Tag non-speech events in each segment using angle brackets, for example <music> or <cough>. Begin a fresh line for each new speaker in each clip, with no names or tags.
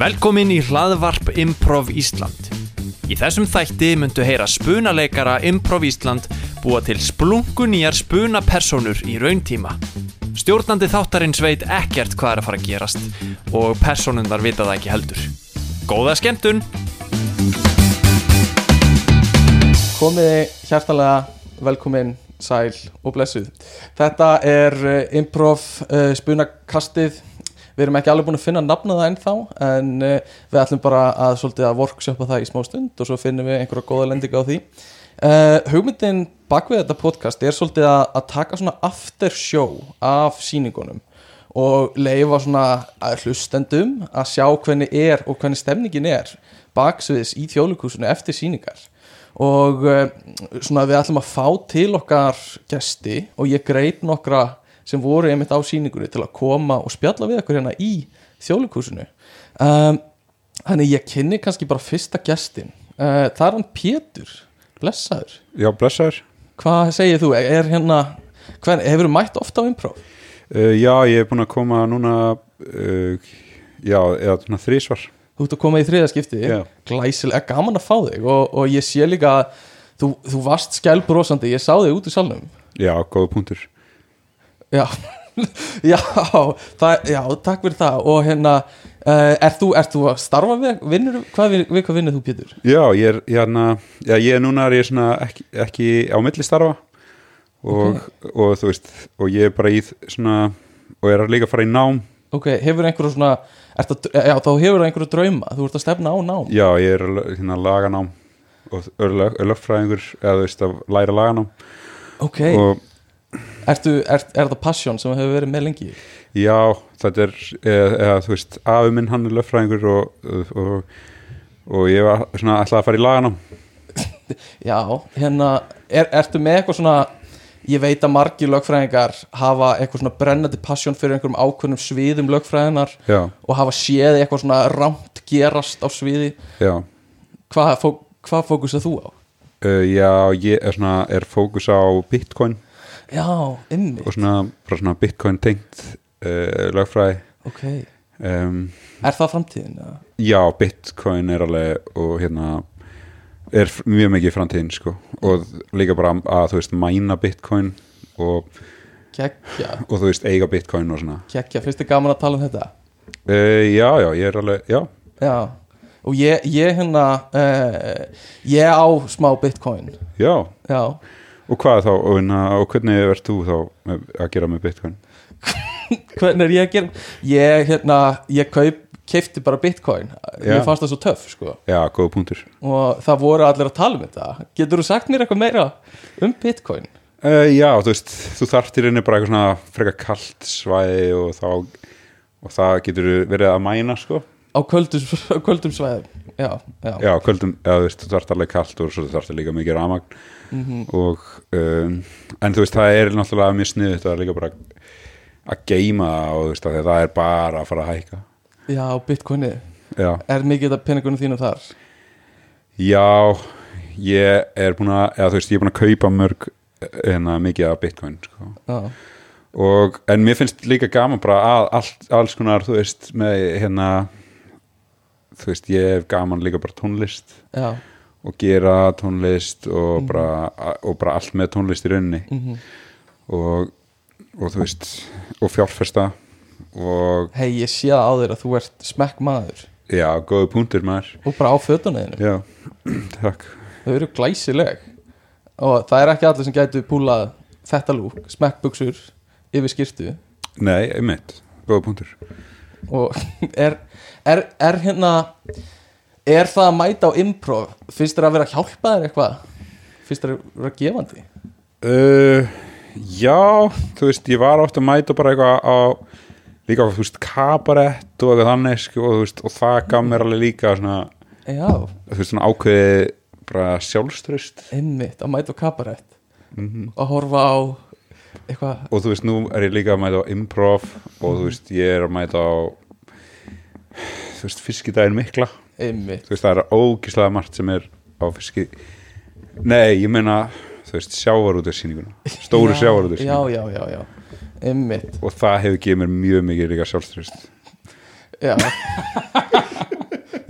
Velkomin í hlaðvarp Improv Ísland. Í þessum þætti myndu heyra spunaleikara Improv Ísland búa til splunkunýjar spunapersonur í rauntíma. Stjórnandi þáttarins veit ekkert hvað er að fara að gerast og personundar vita það ekki heldur. Góða skemmtun!
Komiði hjartalega velkomin sæl og blessuð Þetta er eh, improv uh, spunakastið Við erum ekki alveg búin að finna nafna það ennþá En uh, við ætlum bara að, svolítið, að workshopa það í smá stund Og svo finnum við einhverja góða lendinga á því uh, Hugmyndin bak við þetta podcast er svolítið að, að taka svona after show af sýningunum Og leifa svona að hlustendum að sjá hvernig er og hvernig stemningin er Baksviðis í þjóðlíkúsinu eftir sýningar og uh, svona við ætlum að fá til okkar gesti og ég greit nokkra sem voru einmitt á sýningunni til að koma og spjalla við okkur hérna í þjóðleikhúsinu um, þannig ég kynni kannski bara fyrsta gestin uh, það er hann Pétur blessaður,
Já, blessaður.
hvað segir þú er hérna, hvern, hefur þú mætt ofta á improv?
Uh, já, ég er búin að koma núna, uh, já, eða svona þrísvar.
þú ert að koma í þriða skipti
Já.
glæsilega gaman að fá þig og, og ég sé líka að þú, þú varst skælbrósandi, ég sá þig út í salnum
Já, góða punktur.
Já, <laughs> já, það, já, takk fyrir það og hérna, uh, er, þú, er þú að starfa við, vinnur, hvað, við, við hvað vinnur þú Pétur?
Já, ég er, ég, hana, já, ég er núna er ég svona ekki, ekki á milli starfa og, og þú veist, og ég er bara í þ- svona, og er líka að fara í nám.
Ok, hefur einhverju svona, ert að, já, þá hefur einhverju drauma, þú ert að stefna á nám
Já, ég er l- hérna laganám og örlög- örlögfræðingur, eða þú veist, að læra laganám.
Ok,
Og
ertu, er, er það passion sem hefur verið með lengi?
já, þetta er, eða, eða þú veist, afi minn hann er lögfræðingur og, og, og ég var svona ætlaði að fara í laganám.
Já, hérna, er, ertu með eitthvað svona, ég veit að margir lögfræðingar hafa eitthvað svona brennandi passion fyrir einhverjum ákveðnum sviðum lögfræðinar
Já,
og hafa séð eitthvað svona rámt gerast á sviði,
já.
hvað, fó, hvað fókusað þú á?
Uh, já, ég er, svona, er fókus á bitcoin
Já, ymmi
og svona, bara svona bitcoin tengt uh, lögfræði
Ok,
um,
er það framtíðin? eða?
Já, bitcoin er alveg og hérna er f- mjög mikið í framtíðin sko og líka bara að þú veist mæna bitcoin og,
Gekkja,
og þú veist eiga bitcoin og svona
gekkja, finnst þið gaman að tala um þetta?
uh, Já, já, ég er alveg, já,
Já, og ég, ég hérna, uh, ég á smá bitcoin
já
Já,
og hvað þá, og, hérna, og hvernig verður þú þá með, að gera með bitcoin?
hvernig er ég að gera? Ég hérna, ég kaup, keifti bara bitcoin Mér
Já.
fannst það svo töff, sko
Já, góða punktur
Og það voru allir að tala um þetta Getur þú sagt mér eitthvað meira um bitcoin?
Uh, já, þú veist, þú þarft í rauninni bara eitthvað svona frekar kalt svæði og þá og það getur verið að mæna sko.
Á kvöldum, á kvöldum svæðum Já, já,
Já, kvöldum, eða þú veist, þú þarft alveg kalt og svo þú þarft líka mikið ramagn og, um, en þú veist, það er náttúrulega mjög sniðið, þetta er líka bara að geima það og þú veist, af því að það er bara að fara að hækka.
já bitcoinið
Já,
Er mikið að peningunum þínum þar?
já ég er búin að, eða þú veist, ég er búin að kaupa mörg, hérna, mikið af bitcoin, sko.
Já,
og, en mér finnst líka gaman bara að allt, alls konar, þú veist, með hérna þú veist, ég hef gaman líka bara tónlist
já,
og gera tónlist og, bara, og bara allt með tónlist í rauninni og, og þú veist og fjárfesta og
hei, ég sé það á þér að þú ert smekk maður
já, góðu punktur maður
og bara á fötunniðinu,
já, <clears throat> takk
þau eru glæsileg og það er ekki allir sem gætu púlað þetta lúk, smekkbuksur yfir skýrtu
nei, einmitt, góðu punktur
og <laughs> er, er, er hérna er það að mæta á improv finnst þér að vera að hjálpa þér eitthvað finnst þér að vera gefandi
Uh, já, þú veist, ég var oft að mæta bara eitthvað á líka, á, þú veist, kabarett og eitthvað þannig sko, og, þú veist, og það gaf mér alveg líka svona,
já,
þú veist, svona ákveði bara sjálfströst
einmitt, að mæta á kabarett að horfa á eitthvað
og þú veist, nú er ég líka að mæta á improv og þú veist, ég er að mæta á þú veist, fiskidaginn mikla þú
einmitt,
veist, það er ógislega margt sem er á fiski nei, ég meina, þú veist, sjávarútarsýninguna stóru
Já, já,
sjávarútarsýninguna
já, já, já, einmitt
og það hefur gefið mér mjög mikið líka sjálfströst
Já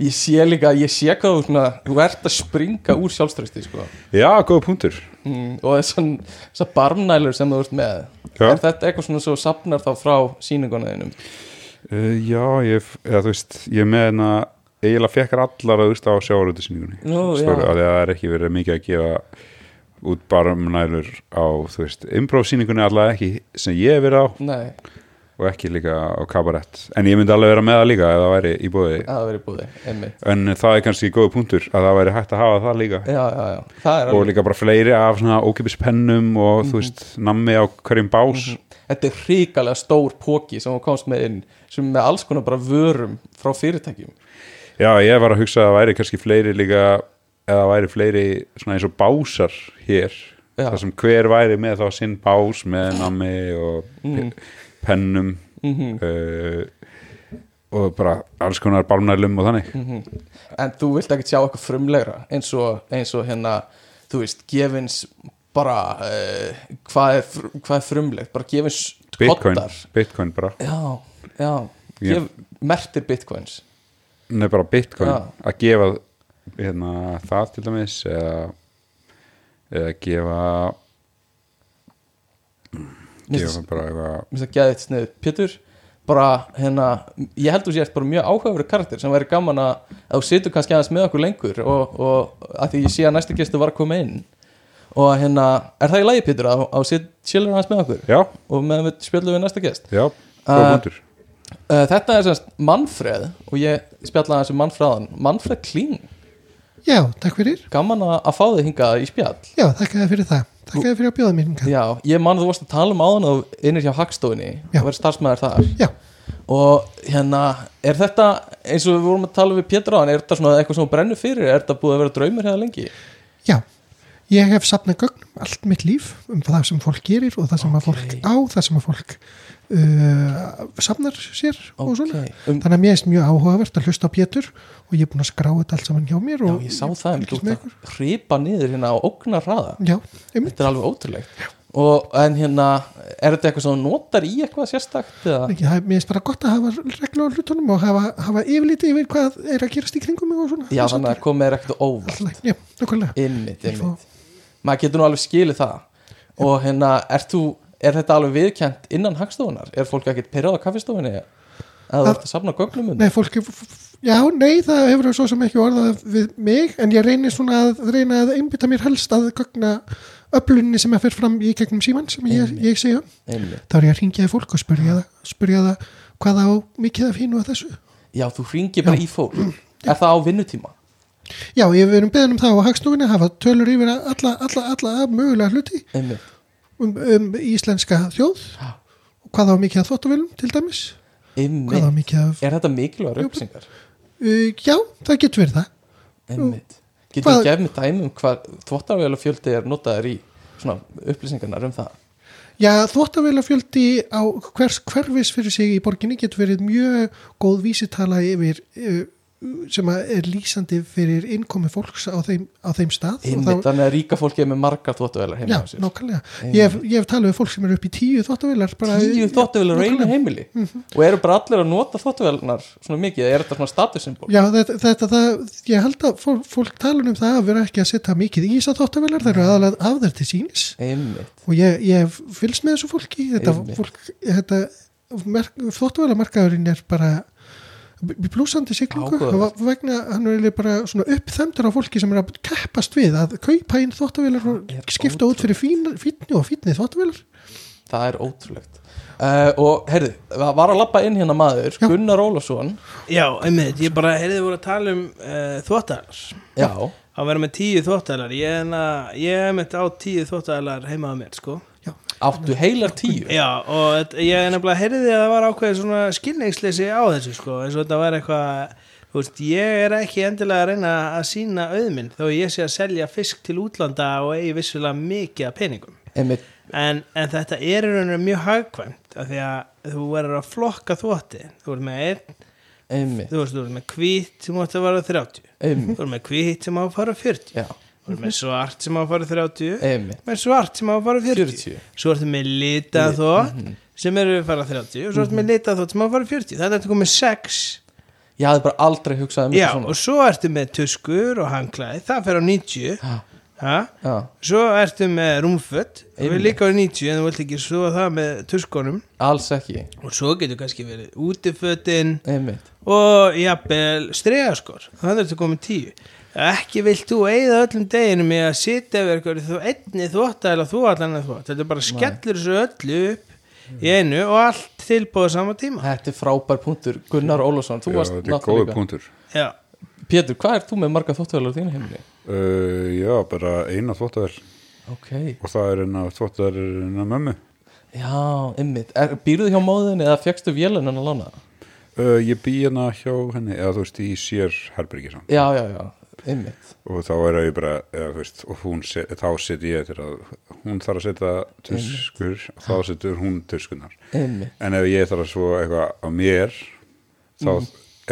ég sé líka, ég sé hvað þú svona, þú ert að springa úr sjálfströsti sko.
já, góða punktur
mm, og þessan, þessar barmnælur sem þú ert með
Já.
er þetta eitthvað svona svo sapnar þá frá síningunniðinum
uh, já, ég, eða, þú veist ég er með hérna eiginlega fekkar allar að úrsta á sjáarútisningunni
Nú, já.
að það er ekki verið mikið að gefa út barmnælur á, þú veist, umbrófsýningunni allavega ekki sem ég hef verið á
nei,
og ekki líka á kabarett en ég myndi alveg vera með það líka ef það væri í bóði
það verið búði, einmitt
en það er kannski góð punktur að það væri hægt að hafa það líka
já, já, já, það er
og
alveg
líka bara fleiri af svona ókipis pennum og
Mhm.
þú veist, nammi á hverjum bás
þetta er hrikalega stór póki sem þú komst með inn sem er með alls konar bara vörum frá fyrirtækjum
já, ég var að hugsa að það væri kannski fleiri líka eða væri fleiri svona eins og básar hér,
Já.
þar sem hver væri með þá sinn bás með nammi og
Mm.
pe- pennum
Mhm.
uh, og bara alls konar barnælum og þannig
Mhm. en þú vilt ekki sjá eitthvað frumlegra eins og, eins og hérna þú veist, gefins bara uh, hvað, er, fr- hvað er frumlegt bara gefins
Bitcoin,
koddar
Bitcoin bara
já, já,
Ég-
gef, mertir bitcoins
Nei, bara bitcoin
Já.
að gefa hérna, það til dæmis eða, eða gefa
Mér
gefa bara eitthvað
finnst það geðið snið Pétur, bara hérna ég held þú sést bara mjög áhugaveru karakter sem væri gaman að, að þú situr kannski aðeins með okkur lengur og, og að því ég sé að næsti gestu var að koma inn og hérna, er það í lagi Pétur að þú situr chillur aðeins með okkur
já,
og meðan við spjöldum við næsta gest
já, góð
Uh,
hundur
Uh, þetta er semst Manfred og ég spjalla aðeins um Manfreðan Manfred Kling,
Já, takk fyrir.
gaman að, að fá þig hingað í spjall
Já, takk að fyrir það. Takk að fyrir að bjóða mér hingað.
Já, ég man að þú varst að tala um áðan að þú innir hjá Hagstofunni
Já.
og verið starfsmæður þar
Já,
og hérna, er þetta eins og við vorum að tala við Pétur áðan, er þetta svona eitthvað sem þú brennur fyrir, er þetta búið að vera draumur hérna lengi?
já. Ég hef sapnað gögnum allt mitt líf um það sem fólk gerir og það sem að fólk á, það sem að fólk uh, sapnar sér og svona.
um,
Þannig að mér er mjög áhugavert að hlusta á Pétur og ég er búin að skrá þetta allt saman hjá mér.
Já,
Og
ég sá það um,
fylgist
þú
með
ert að hripa niður hérna á ógnar hraða
Já, einmitt.
Þetta er alveg ótrúlegt og, En hérna, er þetta eitthvað sem þú notar í eitthvað sérstakt? eða?
Ekki, það er, mér finnst bara gott að hafa regla á hlutunum og hafa, hafa yfirliti yfir hvað er að gerast í kringum mig og svona.
Já, þannig að komið er ekkert óvart
Alltaf, já, nokkulega.
Einmitt,
Ég
einmitt Maður getur nú alveg skilið það Og hérna, er, þú, er þetta alveg viðkjent innan hagstofunar? Er fólk ekkert pyrrað á kaffistofunni? Að þú
Það-
ert að safna gögnum um
Nei, fólk Já, nei, það hefur svo sem ekki orðað við mig, en ég reynir svona að reyna að einbytta mér helst að gögna öflunni sem að fer fram í gegnum síman sem ég, ég segja.
Einmitt.
Þá er ég að ringjaði fólk og spurja það, spurja það hvað á mikið af hínu að þessu.
Já, þú hringir bara í fólk Er það á vinnutíma?
Já, ég hef verið beðin um það á hagstofunni að hafa tölur yfir alla, alla, alla mögulega hluti
Einmitt
um, um íslenska þjóð og hvað á mikið af þóttavélum til dæmis, hvað á
Einmitt
mikið af...
Er þetta mikilvægur upplýsingar?
Uh, já, það getur verið það.
Einmitt Getur þú
Hvað-
gefið mér dæmi um hvað þvottarvélafjöldi er notaður í svona upplýsingarnar um það?
Já, þvóttavélafjöldi á hvers hverfis fyrir sig í borginni getur verið mjög góð vísitala yfir eh, sem að er lýsandi fyrir innkomi fólks á þeim, á þeim stað og
Einmitt, þannig að ríka fólki er með margar þvottavélar
Já,
heima á sér
nákvæmlega. Ég hef, ég hef talað við fólk sem eru upp í tíu þvóttavélar.
tíu þóttavélar á einu heimili og eru bara allir að nota þóttavélarnar svona mikið, eða er þetta svona statussymbol
Já, þetta, þetta það, ég held að fólk, fólk tala um það að vera ekki að setja mikið í þessar þvóttavélar, það eru aðalega af þær til sínis
einmitt,
og ég, ég hef fylgst með þessu fólki þetta
Einmitt.
fólk, þetta þóttuvælamarkaðurinn er bara blúsandi siglingu
Áhugavert.
og vegna hann er eiginlega bara svona uppþemdur á fólki sem er að keppast við að kaupa inn þóttuvælar og
Það er
skipta út fyrir fín- fínni og fínni þóttuvælar
það er ótrúlegt uh, og heyrðu, það var að labba inn hérna maður
Já.
Gunnar Ólafsson
Já, einmitt, ég bara heyrði voru að tala um uh, þvóttalar
já,
að vera með tíu þvóttalar ég, er na- ég er einmitt á tíu þvóttalar heima að mér, sko
áttu heilar tíu
Já, og þetta- ég er nefnilega heyrði að það var ákveðið svona skilningsleysi á þessu, sko eins og þetta var eitthvað þú veist, ég er ekki endilega að reyna að sína auðminn þó ég sé að selja fisk til útlanda og eigi vissulega mikið af peningum
einmitt,
en, en þetta er í rauninu mjög hagkvæmt af því að þú verður að flokka þvótti þú verður með einn
einmitt,
þú veist, þú erum með hvít sem átt að vara 30 þú
einmitt
erum með hvít sem á að fara 40
já,
þú
Mhm.
erum með svart sem á að fara 30
einmitt,
með svart sem á að fara 40,
40
svo ertu með litað
Mhm.
þó sem eru að fara 30 og svo ertu með litað þó sem á að fara 40 þannig að þetta komið 6
ég hafði bara aldrei hugsað um
Já,
þetta
og
svona
svo ertu með tuskur og hanglaði, það fer á 90
Já.
ha?
Já,
Svo ertu með rúmfött það
Einmitt.
er líka á 90 en þú vilt ekki svo það með tuskunum
alls ekki,
og svo getur kannski verið útifötin
einmitt
og jafnvel stregaskor þannig ertu komið 10 ekki vilt þú eigða öllum deginum í að sitja yfir eitthvað þú einni þvótt eða þú allan að þvótt þetta bara skellur þessu öllu upp í einu og allt tilbúið á sama tíma
Þetta er frábær punktur, Gunnar Ólafsson Þú
Já,
varst
þetta er góður
náttúrulega líka
punktur
já,
Pétur, hvað er þú með marga þóttuvelar á þínu heimili?
uh, Já, bara eina þvóttavel
Ok,
og það er eina þvóttavel eina mömmu
já, einmitt er, Býrðu hjá móðinni eða fjekkstu vélunin að lána?
uh, Ég bý hérna hjá henni eða þú veist, í sér herbyrgi samt
Já, já, já, einmitt
og þá er ég bara, eða, þú veist, og hún set, þá seti ég eftir að hún þarf að setja tuskur og þá setur hún tuskunar
Einmitt,
en ef ég þarf að svo eitthvað á mér þá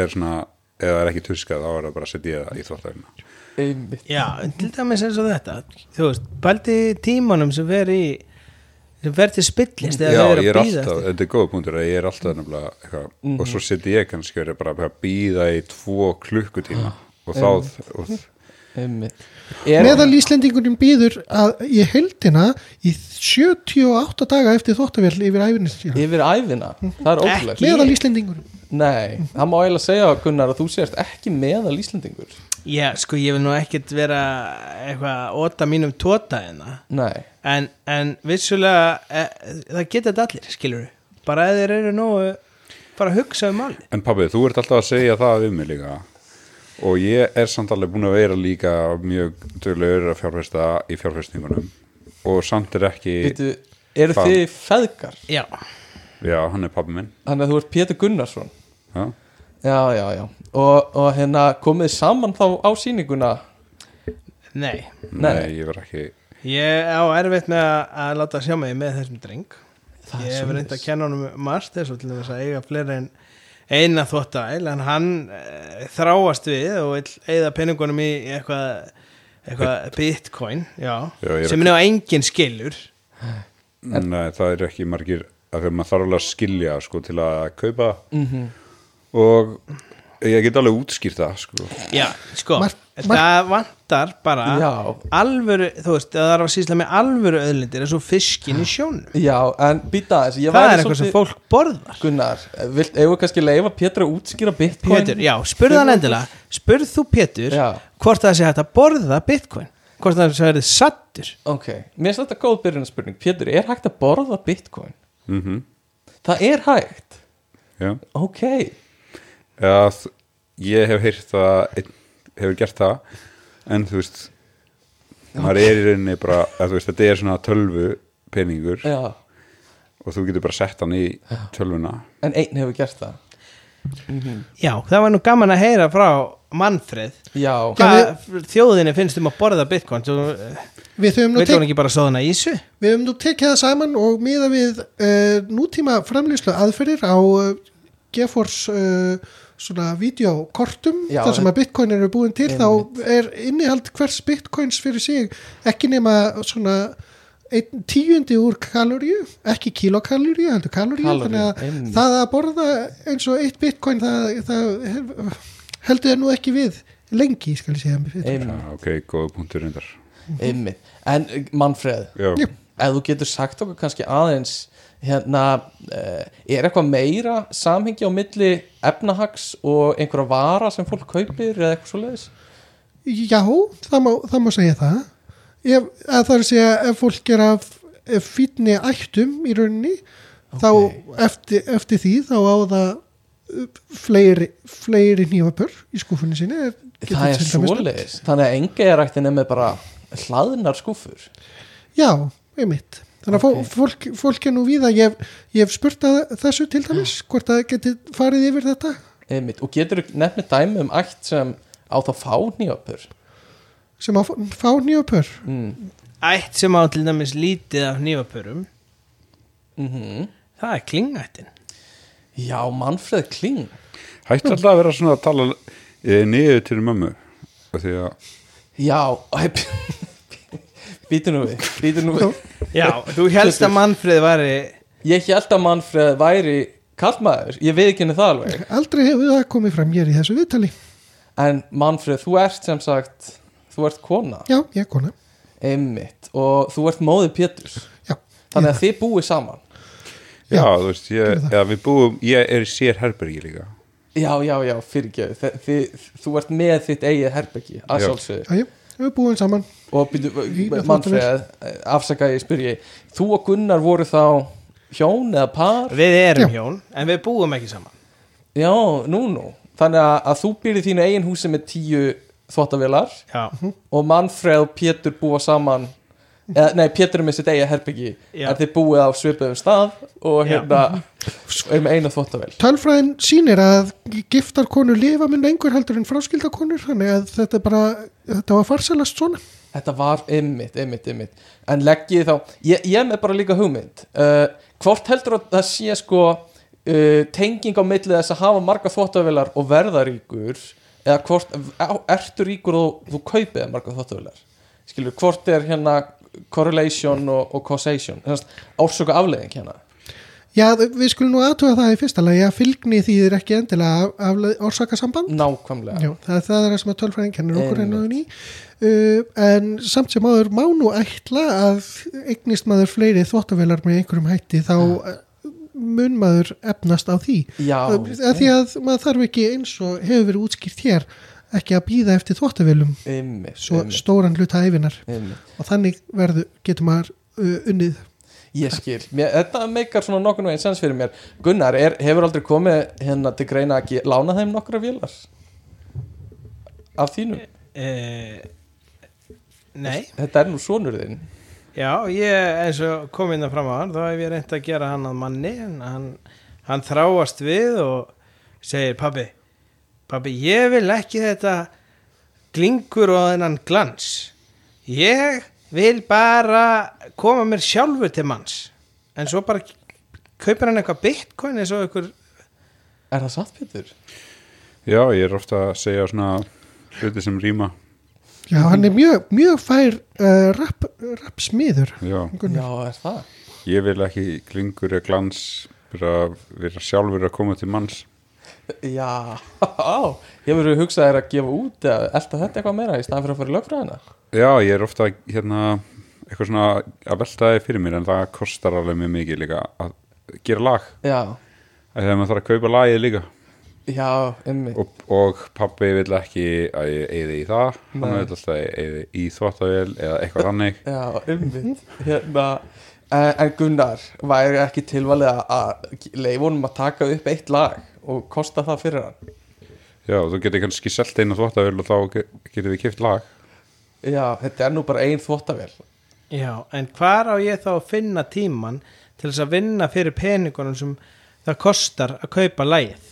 er svona eða það er ekki tuska þá er það bara að setja ég það í þvóttavelina
einmitt
já, til dæmis eins og þetta þú veist, baldi tímanum sem fer í sem fer til spillist
Já, ég
eða það er
er
að býða
alltaf, þetta er góð punktur að ég er alltaf nefnilega eitthvað og svo seti ég kannski verið bara að býða í tvo klukkutíma og þá og,
Einmitt. Er,
Er... Meðal Íslendingunum býður að ég heldina í 78 daga eftir þóttavél yfir æfinni sína.
Yfir æfina, það er ótrúlegt
Ekki.
Meðal Íslendingunum.
Nei, það má eiginlega segja Gunnar að þú sést ekki meðal Íslendingur
Já, sko, ég vil nú ekkert vera eitthvað að óta mínum tóta hérna
Nei,
en, en vissulega e, það geta þetta allir, skilur við bara eða þeir eru nógu bara að hugsa um málið
En pabbi, þú ert alltaf að segja það við mig líka og ég er samt alveg búin að vera líka mjög dögulegur að fjárfesta í fjárfestingunum og samt er ekki
veitu, eru
Hvað?
þið feðgar?
Já,
Já, hann er pabbi minn
Þannig að þú ert Pétur Gunnarsson
Já,
Já, já, já Og, og hérna komið þið saman þá á sýninguna
nei
Nei.
nei, ég var ekki
ég á erfitt með að, að láta sjá mig með þessum dreng
Það er
ég hef
svoleiðis.
reynd að kenna honum master svo til þess að eiga fleiri en eina þvóttæl en hann e, þráast við og vill eigða peningunum í eitthvað, eitthvað bitcoin já,
Já, ég er
sem er á engin skilur
Nei, það er ekki margir af því að maður þarf alveg að skilja sko, til að kaupa og ég get alveg útskýrt það sko.
já, sko,
Mar-
það vantar bara
Já.
alvöru, þú veist, það þarf að sísla með alvöru öðlindir eins og fiskin í sjónu
Já, en býta þess Ég
það
væri
er eitthvað sem
svolítið-
fólk borðar
Gunnar, vilt, eigum við kannski leifa Pétur að útskýra bitcoin?
Pétur, já, spurðu hann endilega spurð þú Pétur
Já.
hvort það sé hægt að borða bitcoin hvort það sé hægt að sattur
Ok, mér finnst þetta góð byrjunarspurning Pétur, er hægt að borða bitcoin?
mm
Það er hægt
Já.
Ok,
Eða, þ- ég hef heyrt það einn hefur gert það en þú veist maður er í rauninni bara að, þú veist, þetta er svona tölvu peningur
já
og þú getur bara sett hann í tölvuna
En einn hefur gert það
Já, það var nú gaman að heyra frá Manfred
Já,
Hvað þjóðinni finnst um að borða bitcoin Þú vil
Við höfum nú
hún
tek,
ekki bara sóðuna í þessu
við höfum nú tekið það saman og miða við uh, nútíma framlýslu aðferðir á uh, GeForce uh, svona videokortum
Já,
þar sem að bitcoin eru búin til
Einmitt.
þá er innihald hvers bitcoins fyrir sig ekki nema svona ein, tíundi úr kaloríu ekki kilokaloríu, heldur kaloríu
Kaloríu,
þannig að
einmitt.
það að borða eins og eitt bitcoin það, það heldur það nú ekki við lengi skal ég segja mér
einmitt,
Já, ok, góða punktur reyndar
einmitt En eh, Manfred,
Já.
Já.
ef þú getur sagt okkur kannski aðeins hérna, eh, er eitthvað meira samhengi á milli efnahags og einhverja vara sem fólk kaupir eða eitthvað svo leiðis?
Já, það má, það má segja það ef, að það er að segja ef fólk er af ef fínni ættum í rauninni þá eftir, eftir því þá á það uh, fleiri, fleiri nýfapör í skúfunni sinni ef- getur
Það er
til dæmis
svo
nefnt.
leiðis, þannig að enga er ættin með bara hlaðnar skúfur
Já, einmitt Þannig að fó- fólk, fólk er nú víða ég, hef- ég hef spurt að þessu til dæmis hvort það geti farið yfir þetta
einmitt, og getur nefnir dæmi um ætt sem á þá fá nýjöpur
sem að fá- fá nýfapör
Mm.
Ætt sem á til dæmis lítið af nýfapörum
mm
Það er klingættin
Já, Manfred Kling
hætti alltaf að vera svona að tala eh, niður til mömmu af því að
Já, <laughs> býtu nú við, býtu nú við
Já, þú helst að Manfred væri
Ég held að Manfred væri kallmaður, ég veit ekki henni það alveg
Aldrei hefur það komið fram hér í þessu viðtali
en Manfred, þú ert sem sagt þú ert kona,
Já, ég er kona
einmitt og þú ert móðið Péturs
Já,
þannig að þið búið saman
Já,
Já,
þú veist, ég,
gerðu það.
já, við búum, ég er í sér herbergi líka
já, já, já, fyrirgjöðu þið, þú ert með þitt eigið herbergi að
Já.
sjálfsögðu
Já, já, við búum saman
og byrju,
Í-
Manfred, afsaka eh, ég spyrji þú og Gunnar voru þá hjón eða par
Við erum
Já.
hjón, en við búum ekki saman
já, nú nú, þannig að, að þú byrði þínu eigin húsi með tíu þvottavélar
Já,
og Manfred og Pétur búa saman eða, nei, Pétur er með sitt eiga herbyggi
Já.
en þeir búið á svipuðum stað og
Já.
hérna
<laughs>
og er með eina þvottavél
Tölfræðin sýnir að giftar konur lifa minn lengur heldur en fráskildar konur þannig að þetta bara, þetta var farsalast svona
þetta var ymmit, ymmit, ymmit en leggjið þá, ég, ég er með bara líka hugmynd uh, hvort heldur að það sé sko uh, tenging á milli þess að hafa marga þvottavélar og verða ríkur eða hvort, á, ertu ríkur og þú kaupið marga þvottavélar skilur, hvort er hérna correlation og, og causation ásöku afleiðing hérna
Já, við skulum nú aðtuga það í fyrsta lagi að fylgni þýðir ekki endilega af, af orsakasamband
nákvæmlega
Já, það, það er það sem að tölfræðin kennir okkur enn
Einmitt.
og ný uh, en samt sem áður má nú ætla að eignist maður fleiri þvottavélar með einhverjum hætti þá uh, mun maður efnast á því
Já,
að því að maður þarf ekki eins og hefur verið útskýrt hér ekki að býða eftir þvottavélum
einmitt,
svo
einmitt,
stóran hluta æfinar
einmitt.
og þannig verður, getur maður uh, unnið
ég skil, mér, þetta meikar svona nokkur nú einsens fyrir mér Gunnar, er, hefur aldrei komið hérna til greina að ge- lána þeim nokkra vélar af þínum
e, nei
þetta er nú sonur þinn
Já, ég eins og kom inn að fram á hann þá hef ég reynt að gera hann að manni en hann, hann þráast við og segir pabbi pabbi, ég vil ekki þetta glingur og þennan glans ég vil bara koma mér sjálfur til manns en svo bara kaupir hann eitthvað bitcoin eins og einhver
er það satt Pétur?
Já, ég er ofta að segja svona hluti sem rýma
Já,
Mhm.
hann er mjög, mjög fær uh, rapp, rappsmiður
Já,
Gunnar.
já, er það?
ég vil ekki glingur eða glans fyrir að vera sjálfur að koma til manns
já, <laughs> hefur þú hugsað þér að gefa út eða elta þetta eitthvað meira í staðan fyrir að fara í lögfræðina
Já, ég er ofta hérna eitthvað svona að velta það fyrir mér en það kostar alveg mjög mikið líka að gera lag
já,
þegar maður þarf að kaupa lagið líka
já, einmitt
og, og pappi vil ekki að ég eigði í það hann vil alltaf að ég eigði í þvottavél eða eitthvað þannig
Já, umvitt hérna, eh, En Gunnar væri ekki tilvalið að- að leifa honum að taka upp eitt lag og kosta það fyrir hann
Já, þú getur kannski selt einu þvottavél og þá ge- getum við kipt lag
Já, þetta er nú bara ein þvottavél
Já, en hvar á ég þá að finna tíman til þess að vinna fyrir peningunum sem það kostar að kaupa lægið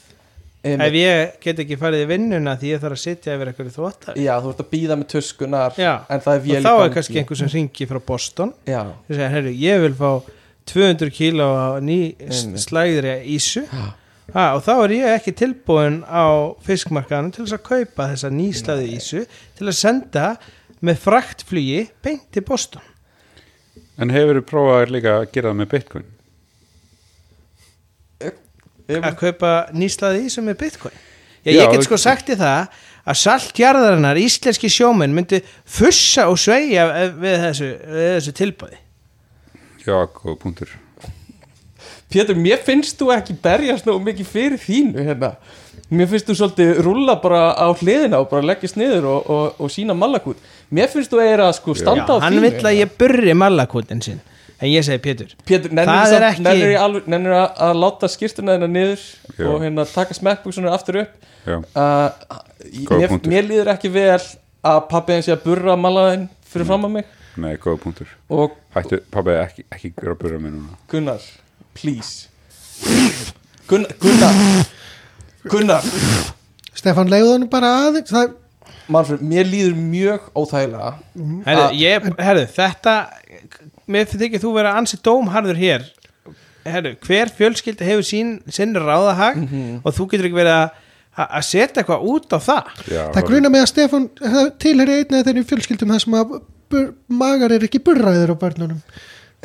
Einmitt.
ef ég get ekki farið í vinnuna því ég þarf að sitja yfir eitthvað þvóttar
Já, þú ert að býða með tuskunar
Já,
En það er
og
vél
þá
í
er
gangi.
kannski einhver sem ringi frá Boston
Já,
og segja, herru, ég vil fá 200 kíló á ný
Einmitt.
slæðri ísu ha, og þá er ég ekki tilbúin á fiskmarkaðanum til þess að kaupa þessa nýslæði ísu til að senda með fraktflugi beint til Boston
En hefur þú prófað líka að gera það með bitcoin?
að kaupa nýslaði í sem er bitcoin Já,
Já,
ég get
ok.
sko sagt í það að saltjarðarinnar, íslenski sjóminn myndi fussa og sveigja við þessu, við þessu tilbæði
Já, góð punktur
Pétur, mér finnst þú ekki berjast nú mikið fyrir þínu hérna. Mér finnst þú svolítið rúlla bara á hliðina og bara leggist niður og, og, og sína mallakút Mér finnst þú eiginlega sko
Já,
standa á
hann
þínu
vill að ég burri mallakútin sinn en ég segi Pétur
Pétur,
Það er
nennir
ekki-
ekki... alveg, nennir að, að láta skýrtuna þennan niður
Já.
og hérna taka smekkbúksunum aftur upp
Já,
uh,
Góð
mér,
punktur.
mér líður ekki vel að pappi hans ég að burra malaðin fyrir fram að mig
nei, góð punktur
og
Hættu, pappi, ekki, ekki gera að byrja með núna
Gunnar, please Gunnar Gunnar, Gunnar
Stefan leiði hann bara aðeins það,
Manfred, mér líður mjög óþægilega
herðu,
Ah.
ég, herðu, þetta mér finnst ekki þú vera ansi dómharður hér herðu, hver fjölskylda hefur sín, sinn ráðahag og þú getur ekki verið að að setja eitthvað út á það
Já,
það gruna með að uh, Stefan tilheri einna þeirri fjölskyldum þar sem að bur, magar er ekki burraðir á börnunum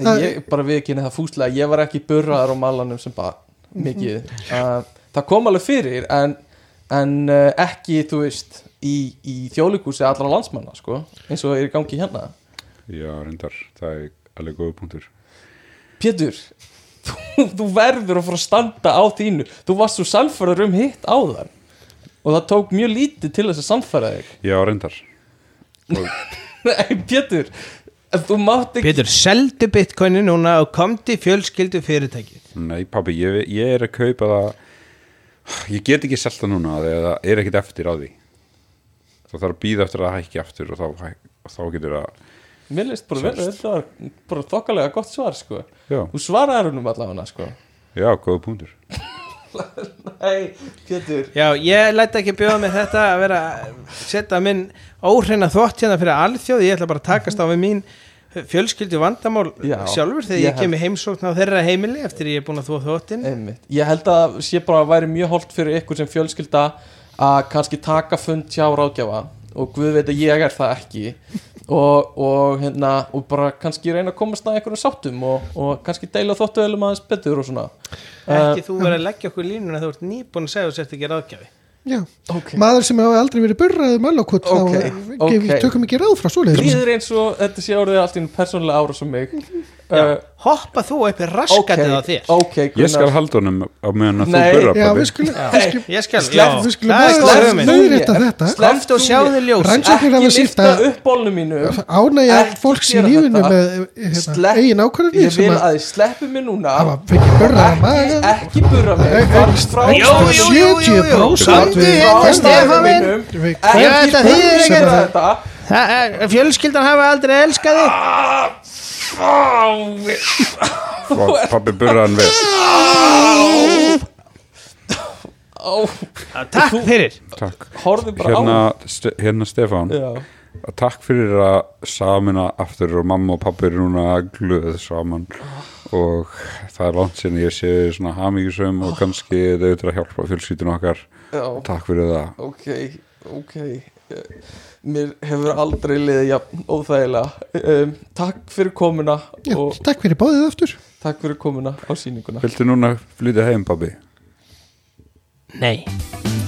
Það-
ég bara viðkynni það fúslega, ég var ekki burraðar á malanum sem bara mikið uh, það kom alveg fyrir en, en uh, ekki, þú veist í, í þjóðleikúsi allra landsmanna sko, eins og er í gangi hérna
já, reyndar, það er alveg góð punktur
Pétur, þú, þú verður að fara að standa á þínu þú varst svo sannfæður um hitt á þann og það tók mjög lítið til þess að sannfæra þig <laughs>
já, reyndar og
Nei, Pétur, þú mátt ekki
Pétur, seldu bitcoinu núna og komdi fjölskyldu fyrirtæki
Nei, pabbi, ég, ég er að kaupa það Ég get ekki selta núna þegar það er ekkit eftir á því Það þarf að býða eftir að það hækki aftur og þá, hæ- og þá getur það
Mér leist bara vel, þetta var bara þokkalega gott svar sko
Já,
Þú svaraði húnum allavega sko
já góða punktur
Nei, Pétur
Já, ég læt ekki bjóða mig þetta að vera setja minn óhreina þvott hérna fyrir alþjóð, ég ætla bara að takast á við mín fjölskyldu vandamál
Já,
sjálfur þegar
ég
ég,
hef- Eh,
kem í heimsókn á þeirra heimili eftir ég er búin að þvó þvottin
Einmitt. Ég held að sé bara að væri mjög holdt fyrir ykkur sem fjölskylda að kannski taka fund hjá ráðgjafa og guð veit að ég er það ekki og, og, hérna, og bara kannski reyna að komast að einhverjum sáttum og, og kannski deila þóttuvelum aðeins betur og svona eh,
ekki þú verið að leggja okkur línuna þú ert nýbúin að segja þú sért ekki ráðgjafi
Já,
Ok.
maður sem hefur aldrei verið burraðið mölokot
Ok,
þá
ok.
okay. tökum ekki ráð frá svoleiðis
Líður eins og þetta sé orðið allt í einu persónulega ára sem mig uh,
Hoppa þú upp í raskatið á þér
ok,
Ég skal
Gunnar
halda honum á meðan að þú
Nei.
börra,
Já,
pabbi
við skulum
Já,
við skulum-
Ég skal,
Slepp-
já,
við skulum
það er
bara-
góð
Slepp-
hugmynd.
leiðrétta þetta.
Komst og sjáðu ljós
Rann- Rannsóknir hafa
Ekki
sýnt
lifta
að-
upp bólnum mínu
ánægja
Ekki
fólks í
gera
lífinu
þetta.
með hérna,
Slepp-
eigin
Ég
ákvarðanir
vil
sem
að
að
þið sleppu mig núna
hafa fengið burraðið
Ekki,
maður
ekki burra mig
Ek-
Farðu
ek-
frá
ekki-
Jú, jú, jú, jú, jú
70%
Komdu
við-
hérna,
við-
Stefán minn
Ekki
Ég veit að
burra
þið eru
mig
ekki-
þetta
Það er- Fjölskyldan hafa aldrei elskaði
Ah,
Pabbi- Pabbi börra hann vel
<laughs> Ó,
Takk fyrir
Takk
Horfðu bara
Hérna, ste, hérna
á
Stefán
Já.
Takk fyrir að samina aftur og mamma og pabbi eru núna glöð saman og það er langt sinni ég sé svona hamingisum og kannski þau eru að hjálpa fjölskyldinu okkar
Já,
Takk fyrir það
ok, ok Eh, Mér hefur aldrei liðið jafn óþægilega um, Takk fyrir komuna
Já,
og
Takk fyrir báðið aftur
takk fyrir komuna á sýninguna
Viltu núna flytja heim, pabbi?
Nei